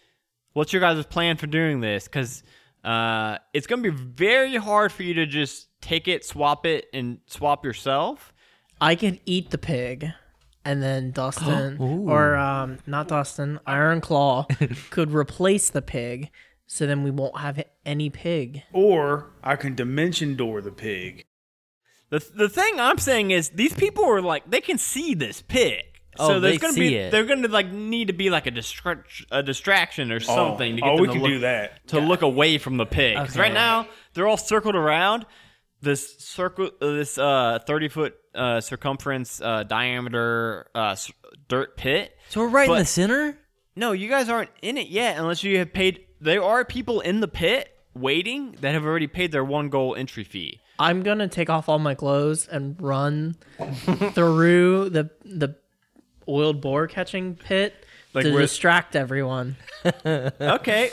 S1: what's your guys' plan for doing this? Because uh, it's going to be very hard for you to just take it, swap it, and swap yourself.
S7: I could eat the pig, and then [gasps] Dustin or um, not Dustin, Iron Claw [laughs] could replace the pig. So then we won't have any pig.
S4: Or I can dimension door the pig.
S1: The, the thing I'm saying is these people are like they can see this pig.
S2: Oh,
S1: so there's
S2: they
S1: gonna
S2: see
S1: be
S2: it.
S1: they're gonna like need to be like a distract a distraction or something to get
S4: oh,
S1: them
S4: we
S1: to
S4: can
S1: look,
S4: do that.
S1: to look away from the pig. 'Cause
S2: Okay.
S1: right now they're all circled around this circle, uh, this uh, thirty foot uh, circumference uh, diameter uh, s- dirt pit.
S2: so we're right in
S1: but-
S2: the center.
S1: No, you guys aren't in it yet unless you have paid. There are people in the pit waiting that have already paid their one goal entry fee.
S7: I'm gonna take off all my clothes and [laughs] run through the the oiled boar catching pit to
S1: where-
S7: distract everyone.
S1: Okay.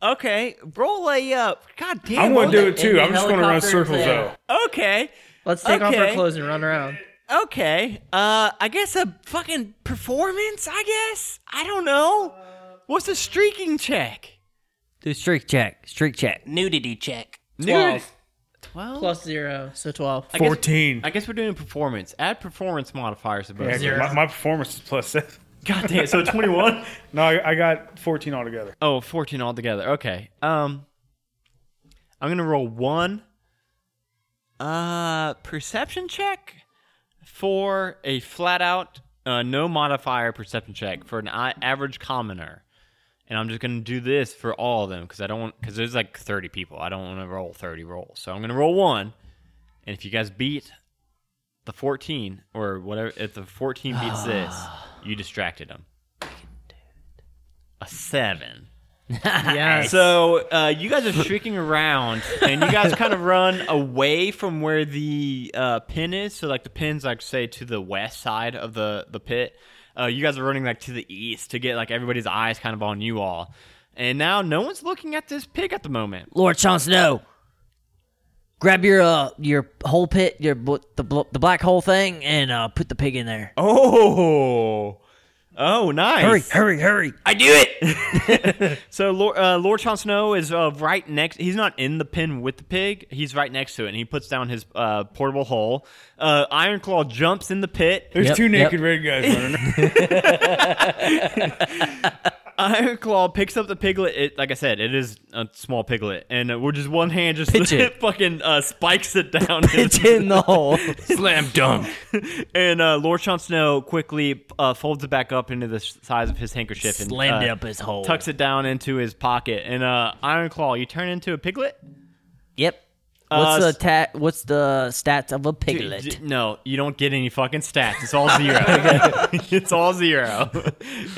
S1: Okay, roll a up. God damn.
S4: I'm
S1: roll
S4: gonna do
S1: a-
S4: it too.
S2: the
S4: I'm just gonna run
S2: helicopter
S4: circles
S2: there.
S4: though.
S1: Okay,
S7: Let's take off our
S1: Okay.
S7: clothes and run around.
S1: okay. Uh, I guess a fucking performance. I guess I don't know. What's a streaking check?
S2: Do streak check, streak check.
S5: Nudity check.
S1: Twelve. Twelve.
S7: Plus zero, so 12.
S1: I guess-
S4: Fourteen.
S1: I guess we're doing performance. Add performance modifiers above.
S4: Yeah,
S1: zero.
S4: my, my performance is plus seven.
S1: God damn. So twenty-one.
S4: [laughs] No, I, I got fourteen altogether.
S1: Oh, 14 altogether. Okay. Um I'm going to roll one uh perception check for a flat out uh, no modifier perception check for an i- average commoner. And I'm just going to do this for all of them cuz I don't want cuz there's like 30 people. I don't want to roll 30 rolls. So I'm going to roll one. And if you guys beat the 14 or whatever if the 14 beats this, you distracted them. A 7.
S7: Yes.
S1: So uh, you guys are shrieking around, and you guys kind of run away from where the uh, pin is. So like the pin's like say to the west side of the the pit. Uh, you guys are running like to the east to get like everybody's eyes kind of on you all. And now no one's looking at this pig at the moment.
S2: Lord Sean Snow, grab your uh your hole pit, your bl- the bl- the black hole thing, and uh put the pig in there.
S1: Oh, oh, nice.
S2: Hurry, hurry, hurry!
S5: I do it.
S1: So Lord, uh, Lord Jon Snow is uh, right next. He's not in the pen with the pig. He's right next to it, and he puts down his uh, portable hole. Uh, Iron Claw jumps in the pit. [laughs]
S4: There's
S2: Yep,
S4: two
S2: yep.
S4: naked red guys running.
S1: Iron Claw picks up the piglet. It, like I said, it is a small piglet, and uh, we're just one hand just [laughs]
S2: Pitch it.
S1: fucking uh, spikes it down.
S2: [laughs] It's in the [laughs] hole.
S6: Slam dunk.
S1: [laughs] and uh, Lord Jon Snow quickly uh, folds it back up into the size of his handkerchief
S2: Slammed
S1: and uh,
S2: up his hole.
S1: tucks it down into his pocket. And uh, Iron Claw, you turn into a piglet.
S2: Yep.
S1: Uh,
S2: What's the
S1: s-
S2: ta- What's the stats of a piglet?
S1: D- d- no, you don't get any fucking stats. It's
S7: [laughs]
S1: all zero. [laughs] it's all zero,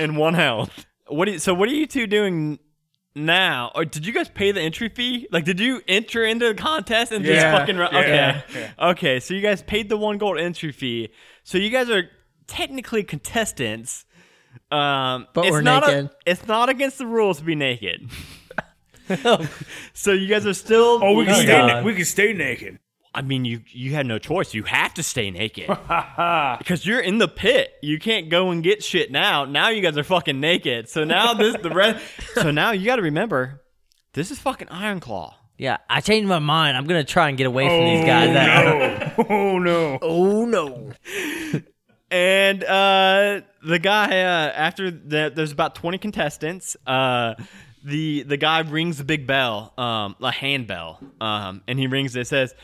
S1: and one health. What? Do you, so what are you two doing now? Or did you guys pay the entry fee? Like, did you enter into the contest and just
S4: Yeah.
S1: fucking? Run?
S4: Yeah.
S1: Okay,
S4: Yeah.
S1: okay. So you guys paid the one gold entry fee. So you guys are technically contestants. Um,
S7: But
S1: it's
S7: we're
S1: not a-
S7: naked.
S1: it's not against the rules to be
S7: [laughs]
S1: naked. [laughs] so you guys are still.
S4: Oh, we can
S1: Oh,
S4: stay.
S1: yeah.
S4: Na- we can stay naked.
S1: I mean, you you had no choice. You have to stay naked because you're in the pit. You can't go and get shit now. Now you guys are fucking naked. So now this the rest. So now you got to remember, this is fucking Iron Claw.
S2: yeah, I changed my mind. I'm gonna try and get away from these
S4: Oh,
S2: guys.
S4: no. Oh [laughs] no.
S7: oh no.
S1: And uh, the guy uh, after that, there's about 20 contestants. Uh, the the guy rings a big bell, um, a hand bell, um, and he rings it. Says,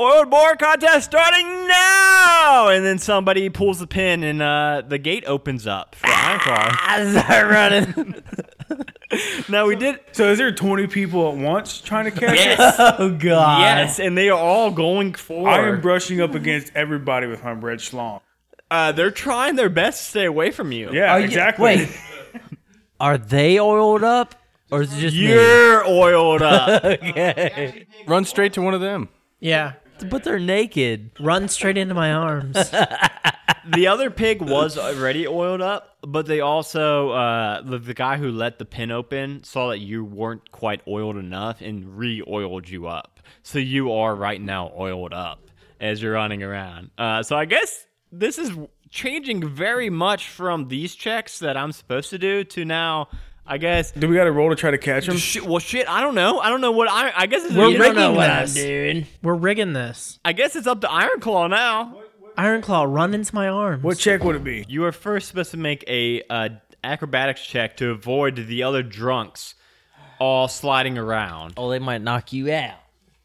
S1: "Oil board contest starting now!" And then somebody pulls the pin, and uh, the gate opens up for
S2: Ah,
S1: Ironclaw.
S2: I start running.
S1: [laughs] now we did
S4: So is there twenty people at once trying to catch it?
S1: yes,
S2: Oh God.
S1: yes, and they are all going for.
S4: I am brushing up against everybody with my red schlong.
S1: uh, they're trying their best to stay away from you.
S4: Yeah,
S2: you-
S4: exactly.
S2: Wait. Are they oiled up, or is it just me?
S1: You're oiled up.
S6: Run straight to one of them.
S7: Yeah.
S2: But they're naked.
S7: Run straight into
S1: [laughs]
S7: my arms.
S1: the other pig was already oiled up, but they also uh, the, the guy who let the pin open saw that you weren't quite oiled enough and re-oiled you up. So you are right now oiled up as you're running around. Uh, so I guess this is changing very much from these checks that I'm supposed to do to now. I guess.
S4: Do we got to roll to try to catch him?
S1: Shit, well, shit. I don't know. I don't know what I. I guess it's.
S7: We're
S1: you don't
S7: rigging
S1: know what I-
S7: this. We're rigging this.
S1: I guess it's up to Iron Claw now.
S7: Iron Claw, run into my arms.
S4: What check would it be?
S1: You are first supposed to make a uh, acrobatics check to avoid the other drunks all sliding around.
S2: Oh, they might knock you out.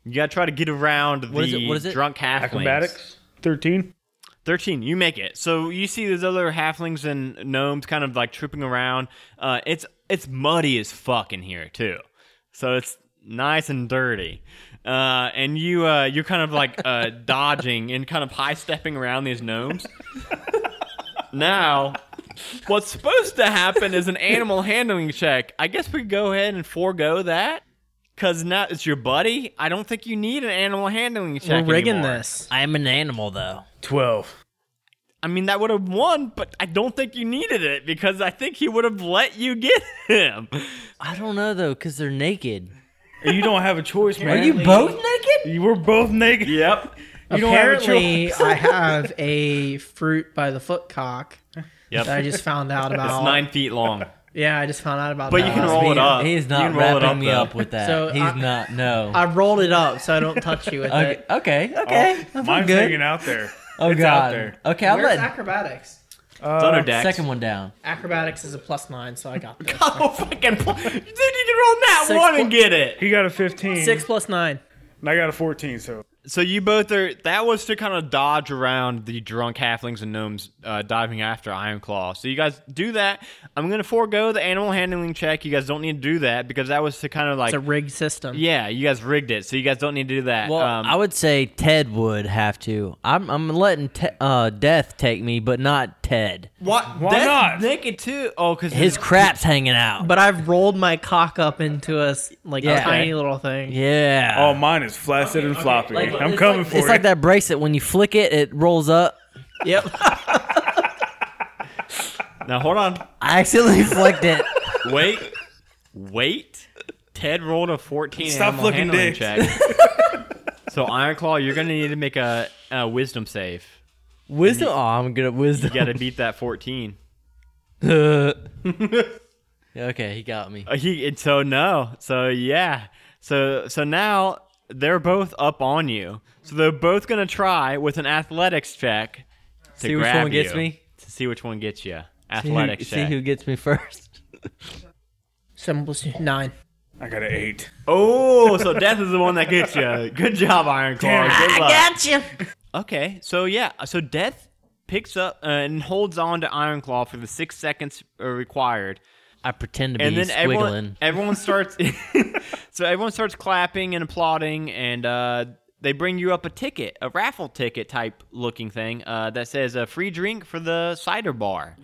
S1: You gotta try to get around
S2: What is
S1: the
S2: it- what is it?
S1: drunk halflings.
S4: Acrobatics. Thirteen.
S1: Thirteen, you make it. So you see these other halflings and gnomes kind of like tripping around. Uh, it's it's muddy as fuck in here too, so it's nice and dirty. Uh, and you uh, you're kind of like
S7: [laughs]
S1: uh, dodging and kind of high stepping around these gnomes. now, what's supposed to happen is an animal handling check. I guess we could go ahead and forego that. Cause now it's your buddy. I don't think you need an animal handling
S7: We're
S1: check.
S7: rigging
S1: anymore.
S7: this.
S2: I am an animal, though.
S4: Twelve.
S1: I mean, that would have won, but I don't think you needed it because I think he would have let you get [laughs] him.
S2: I don't know though, cause they're naked.
S4: You don't have a choice, man.
S2: both naked?
S4: You were both naked.
S1: Yep.
S4: You don't have a choice.
S7: Apparently, I have a fruit by the foot cock
S1: Yep.
S7: that I just found
S1: [laughs]
S7: out
S1: it's
S7: about.
S1: nine feet long.
S7: Yeah, I just found out about
S1: But
S7: that.
S1: you can
S7: last
S1: roll it
S7: week.
S1: up.
S2: He's
S1: You
S2: not
S1: can roll it
S2: wrapping
S1: up,
S2: me
S1: though.
S2: up with that.
S7: So,
S2: He's
S7: I-
S2: not. No.
S7: I rolled it up so I don't touch you with
S2: okay.
S7: it.
S2: Okay. Okay.
S1: Oh,
S2: I'm
S4: Mine's
S2: good.
S4: hanging out there.
S2: oh
S4: it's
S2: God.
S4: out there. Uh,
S2: Okay. I'm
S7: Where's
S2: letting
S7: acrobatics? Uh,
S1: Thunderdax.
S2: second one down.
S7: Acrobatics is a plus nine, so I got this.
S1: [laughs] Oh, fucking. pl- Dude, you can roll that
S7: Six
S1: one
S7: pl-
S1: and get it.
S4: He got a 15.
S7: Six plus nine.
S4: And I got a 14, so.
S1: So you both are. That was to kind of dodge around the drunk halflings and gnomes uh, diving after Iron Claw. So you guys do that. I'm gonna forego the animal handling check. You guys don't need to do that because that was to kind of like.
S7: It's a rigged system.
S1: yeah, you guys rigged it, so you guys don't need to do that.
S2: Well,
S1: um,
S2: I would say Ted would have to. I'm I'm letting te- uh, Death take me, but not Ted.
S1: what? Why
S4: That's not?
S1: Naked too. Oh, because
S2: His crap's hanging out.
S7: But I've rolled my cock up into a s- like
S2: Yeah.
S7: tiny little thing.
S2: yeah.
S4: Oh, mine is flaccid and floppy. I'm coming for
S2: It's
S4: it.
S2: Ah. like that bracelet. When you flick it, it rolls up.
S7: Yep.
S1: now hold on.
S2: [laughs] I accidentally flicked it.
S1: Wait, wait. Ted rolled a 14
S4: Stop
S1: animal
S4: looking
S1: handling
S4: dicks.
S1: check.
S2: [laughs]
S1: so Iron Claw, you're gonna need to make a, a wisdom save.
S2: Wisdom. Oh, I'm good at wisdom.
S1: You gotta beat that 14.
S2: [laughs]
S1: [laughs]
S2: okay, he got me.
S1: Uh, He and so no, so yeah, so so now they're both up on you. So they're both gonna try with an athletics check to
S2: See which
S1: grab
S2: one gets
S1: you,
S2: me?
S1: To see which one gets you.
S2: See who-
S1: Athletics
S2: see
S1: check.
S2: who gets me [laughs] first.
S7: Seven plus two- nine.
S4: I got an 8.
S1: Oh, so death is the one that gets you. Good job, Iron Claw. Good luck.
S3: Gotcha.
S1: Okay, so yeah, so Death picks up uh, and holds on to Iron Claw for the six seconds uh, required,
S2: I pretend to be
S1: and then
S2: squiggling.
S1: everyone everyone
S2: [laughs]
S1: starts, [laughs] so everyone starts clapping and applauding, and uh, they bring you up a ticket, a raffle ticket type looking thing uh, that says a free drink for the cider bar.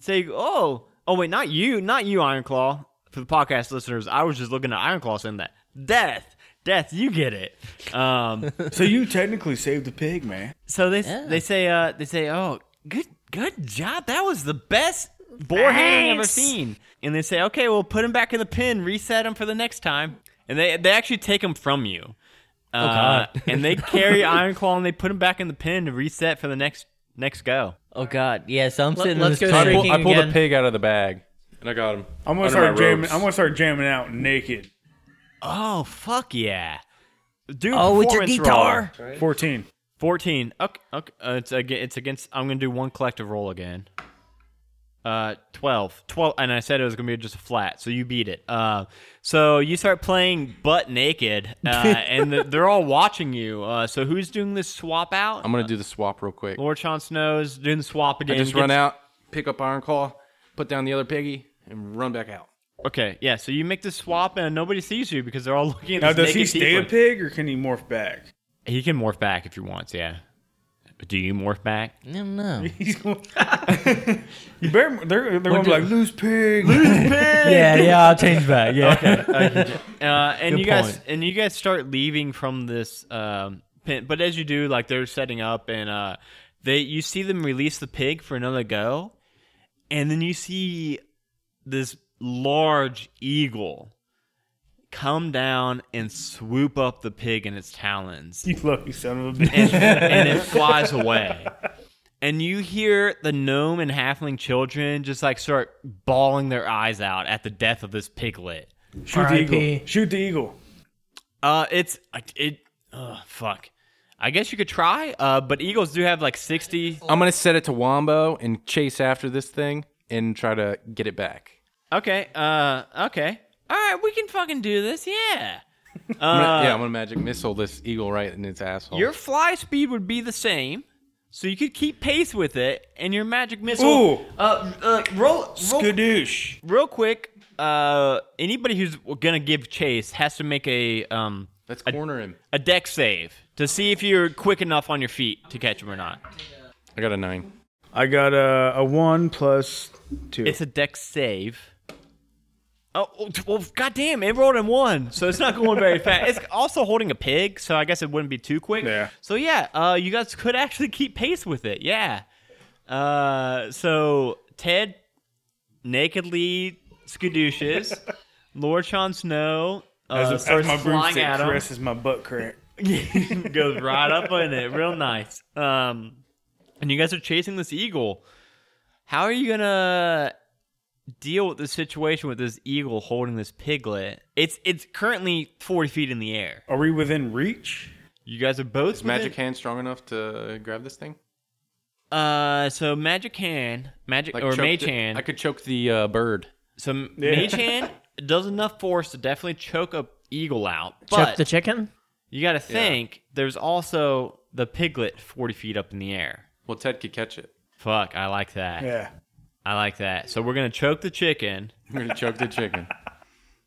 S1: Say, oh, oh wait, not you, not you, Iron Claw. For the podcast listeners, I was just looking at Iron Claw saying that Death, Death, you get it. Um,
S4: So you technically saved the pig, man.
S1: So they they say uh they say oh good good job that was the best boar hanging I've ever
S3: Thanks.
S1: seen and they say okay well put him back in the pen reset him for the next time and they they actually take him from you
S2: Oh,
S1: uh, and they
S2: [laughs]
S1: carry Iron Claw and they put him back in the pen to reset for the next next go
S2: oh God, yeah. So I'm sitting in
S7: let's
S2: this
S7: go
S2: chair.
S6: I, pull,
S7: Drinking
S6: I pulled
S7: again.
S6: a pig out of the bag, and I got him.
S4: I'm gonna
S6: under
S4: start
S6: my
S4: jamming.
S6: robes.
S4: I'm gonna start jamming out naked.
S1: oh fuck yeah dude
S2: Oh, it's your guitar.
S4: 14.
S1: fourteen okay okay uh, it's against, it's against I'm gonna do one collective roll again Uh, 12. 12. And I said it was going to be just a flat, so you beat it. Uh, so you start playing butt naked,
S6: [laughs]
S1: uh, and the, they're all watching you. Uh, so who's doing this swap out?
S6: I'm gonna do the swap real quick.
S1: Lord Sean Snow's doing the swap
S6: I
S1: again.
S6: just run
S1: Gets-
S6: out, pick up Iron Claw, put down the other piggy, and run back out.
S1: Okay, yeah. So you make the swap, and nobody sees you because they're all [laughs] looking at
S4: Now,
S1: this
S4: does he
S1: naked
S4: stay a
S1: tiefling.
S4: pig or can he morph back?
S1: He can morph back if he wants, yeah. Do you morph back?
S2: No, no.
S4: He's going. you better. They're, they're gonna be like loose pig.
S2: yeah, yeah. I'll change back. [laughs] Yeah.
S1: Uh, and
S2: Good
S1: you guys
S2: point.
S1: and you guys start leaving from this um, pin, but as you do, like they're setting up, and uh, they you see them release the pig for another go, and then you see this large eagle come down and swoop up the pig in its talons,
S4: you lucky son of a bitch.
S1: and, and it flies away. And you hear the gnome and halfling children just like start bawling their eyes out at the death of this piglet.
S4: Shoot the
S7: R.I.P..
S4: eagle. Shoot the eagle.
S1: Uh, it's I- it. Oh fuck. I guess you could try. Uh, but eagles do have like sixty.
S6: I'm gonna set it to Wombo and chase after this thing and try to get it back.
S1: Okay. Uh. Okay. All right. We can fucking do this. Yeah.
S6: I'm gonna- yeah, I'm gonna magic missile this eagle right in its asshole.
S1: Your fly speed would be the same, so you could keep pace with it, and your magic missile.
S4: Ooh,
S1: Uh. uh roll. roll
S4: skadoosh.
S1: real quick. Uh. Anybody who's gonna give chase has to make a um
S6: Let's corner him.
S1: a deck save to see if you're quick enough on your feet to catch him or not.
S6: I got a nine.
S4: I got a a one plus two.
S1: It's a deck save. Oh, oh, t- well, goddamn, it rolled in one, so it's not going very fast. It's also holding a pig, so I guess it wouldn't be too quick.
S4: Yeah.
S1: So, yeah, uh, you guys could actually keep pace with it, yeah. Uh, so, Ted nakedly
S4: [laughs]
S1: skadooshes. Lord Sean Snow uh,
S4: as,
S1: starts
S4: my
S1: flying
S4: broomstick
S1: at him.
S4: caresses my butt crack.
S1: [laughs] goes right up in it, real nice. Um, and you guys are chasing this eagle. How are you gonna deal with the situation with this eagle holding this piglet. It's it's currently forty feet in the air.
S4: Are we within reach?
S1: You guys are both
S6: Is magic
S1: within-
S6: hand strong enough to grab this thing?
S1: Uh, so magic hand, magic or
S6: choke
S1: mage
S6: the-
S1: hand.
S6: I could choke the uh, bird.
S1: So m- mage
S6: [laughs]
S1: hand does enough force to definitely choke a eagle out,
S7: Chuck
S1: but
S7: the chicken?
S1: you got to think there's also the piglet forty feet up in the air.
S6: Well, Ted could catch it. [laughs]
S1: Fuck, I like that.
S4: Yeah.
S1: I like that. So we're gonna choke the chicken,
S6: I'm gonna choke the chicken.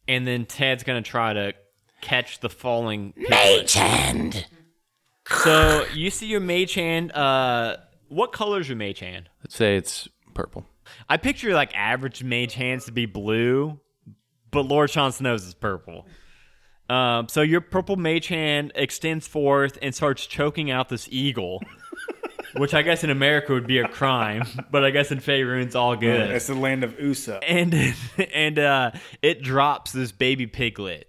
S1: and then Ted's gonna try to catch the falling
S5: Mage
S1: piglet.
S5: hand.
S1: So you see your mage hand. Uh, what color's your mage hand?
S6: Let's say it's purple.
S1: I picture like average mage hands to be blue, but Lord Sean Snow's is purple. Um, so your purple mage hand extends forth and starts choking out this eagle, [laughs] which I guess in America would be a crime, but I guess in Faerun's all good.
S4: That's Uh, the land of Usa.
S1: And [laughs] and uh, it drops this baby piglet.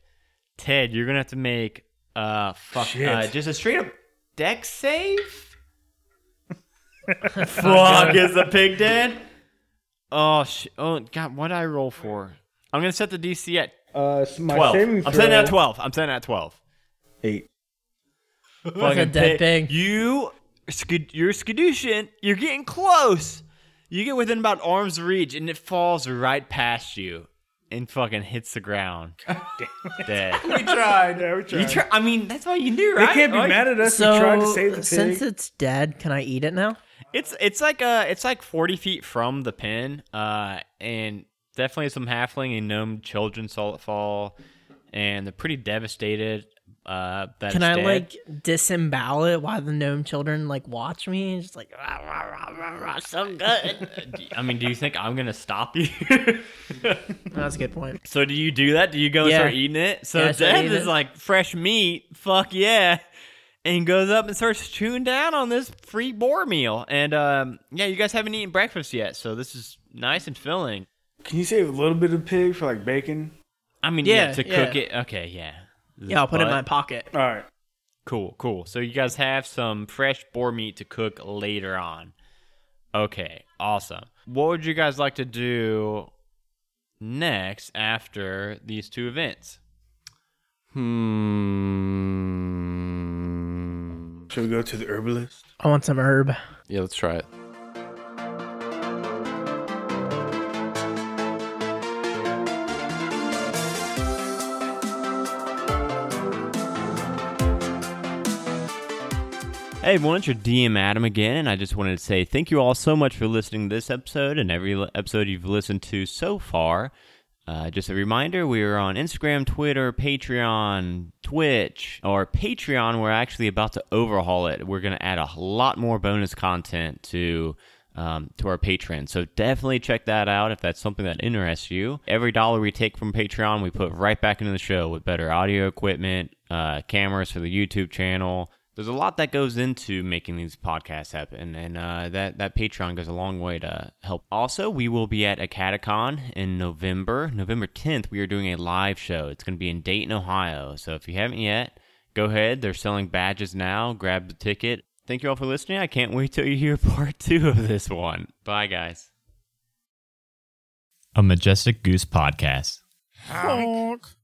S1: Ted, you're gonna have to make uh fuck uh, just a straight up deck save. fuck is the pig dead? Oh sh- oh god, what did I roll for? I'm gonna set the DC at
S4: Uh, so my
S1: twelve.
S4: saving
S1: I'm setting it at
S4: throw-
S1: twelve. I'm setting it at twelve.
S4: Eight.
S1: Fucking
S7: a dead pig.
S1: You, skid- you're skadooshing. You're getting close. You get within about arm's reach, and it falls right past you, and fucking hits the [laughs] ground. Dead.
S4: We tried. Yeah,
S1: [laughs]
S4: we
S1: You
S4: tried.
S1: try- I mean, that's all you knew,
S4: They
S1: right?
S4: can't be
S1: Like,
S4: mad at us. we tried to save the
S7: So
S4: pig.
S7: since it's dead, can I eat it now?
S1: It's it's like uh it's like forty feet from the pin, uh, and definitely some halfling and gnome children saw it fall, and they're pretty devastated. Uh, that
S7: Can
S1: it's
S7: I
S1: dead.
S7: like disembowel it while the gnome children like watch me? And just like [laughs]
S5: Rah, rah, rah, rah, rah, so good.
S1: I mean, do you think I'm gonna stop you? [laughs]
S7: that's a good point.
S1: So do you do that? Do you go and
S7: Yeah.
S1: start eating it? So
S7: Yeah, I start
S1: Dad
S7: eating
S1: is
S7: it.
S1: like fresh meat, fuck yeah, and goes up and starts chewing down on this free boar meal. And um, yeah, you guys haven't eaten breakfast yet, so this is nice and filling.
S4: Can you save a little bit of pig for like bacon?
S1: I mean, yeah,
S7: Yeah,
S1: to
S7: yeah.
S1: cook it. Okay, yeah.
S7: Yeah, I'll put it in my
S1: But-
S7: pocket.
S4: All right.
S1: Cool, cool. So you guys have some fresh boar meat to cook later on. Okay, awesome. What would you guys like to do next after these two events?
S6: Hmm.
S4: Should we go to the herbalist?
S7: I want some herb.
S6: Yeah, let's try it.
S1: Hey everyone, it's your DM Adam again, and I just wanted to say thank you all so much for listening to this episode and every li- episode you've listened to so far. Uh, just a reminder, we are on Instagram, Twitter, Patreon, Twitch, or Patreon. We're actually about to overhaul it. We're going to add a lot more bonus content to um, to our patrons. So definitely check that out if that's something that interests you. Every dollar we take from Patreon, we put right back into the show with better audio equipment, uh, cameras for the YouTube channel. There's a lot that goes into making these podcasts happen, and uh, that that Patreon goes a long way to help. Also, we will be at a Catacon in November, November 10th. We are doing a live show. It's going to be in Dayton, Ohio. So if you haven't yet, go ahead. They're selling badges now. Grab the ticket. Thank you all for listening. I can't wait till you hear [laughs] part two of this one. Bye, guys. A Majestic Goose Podcast.
S4: Honk.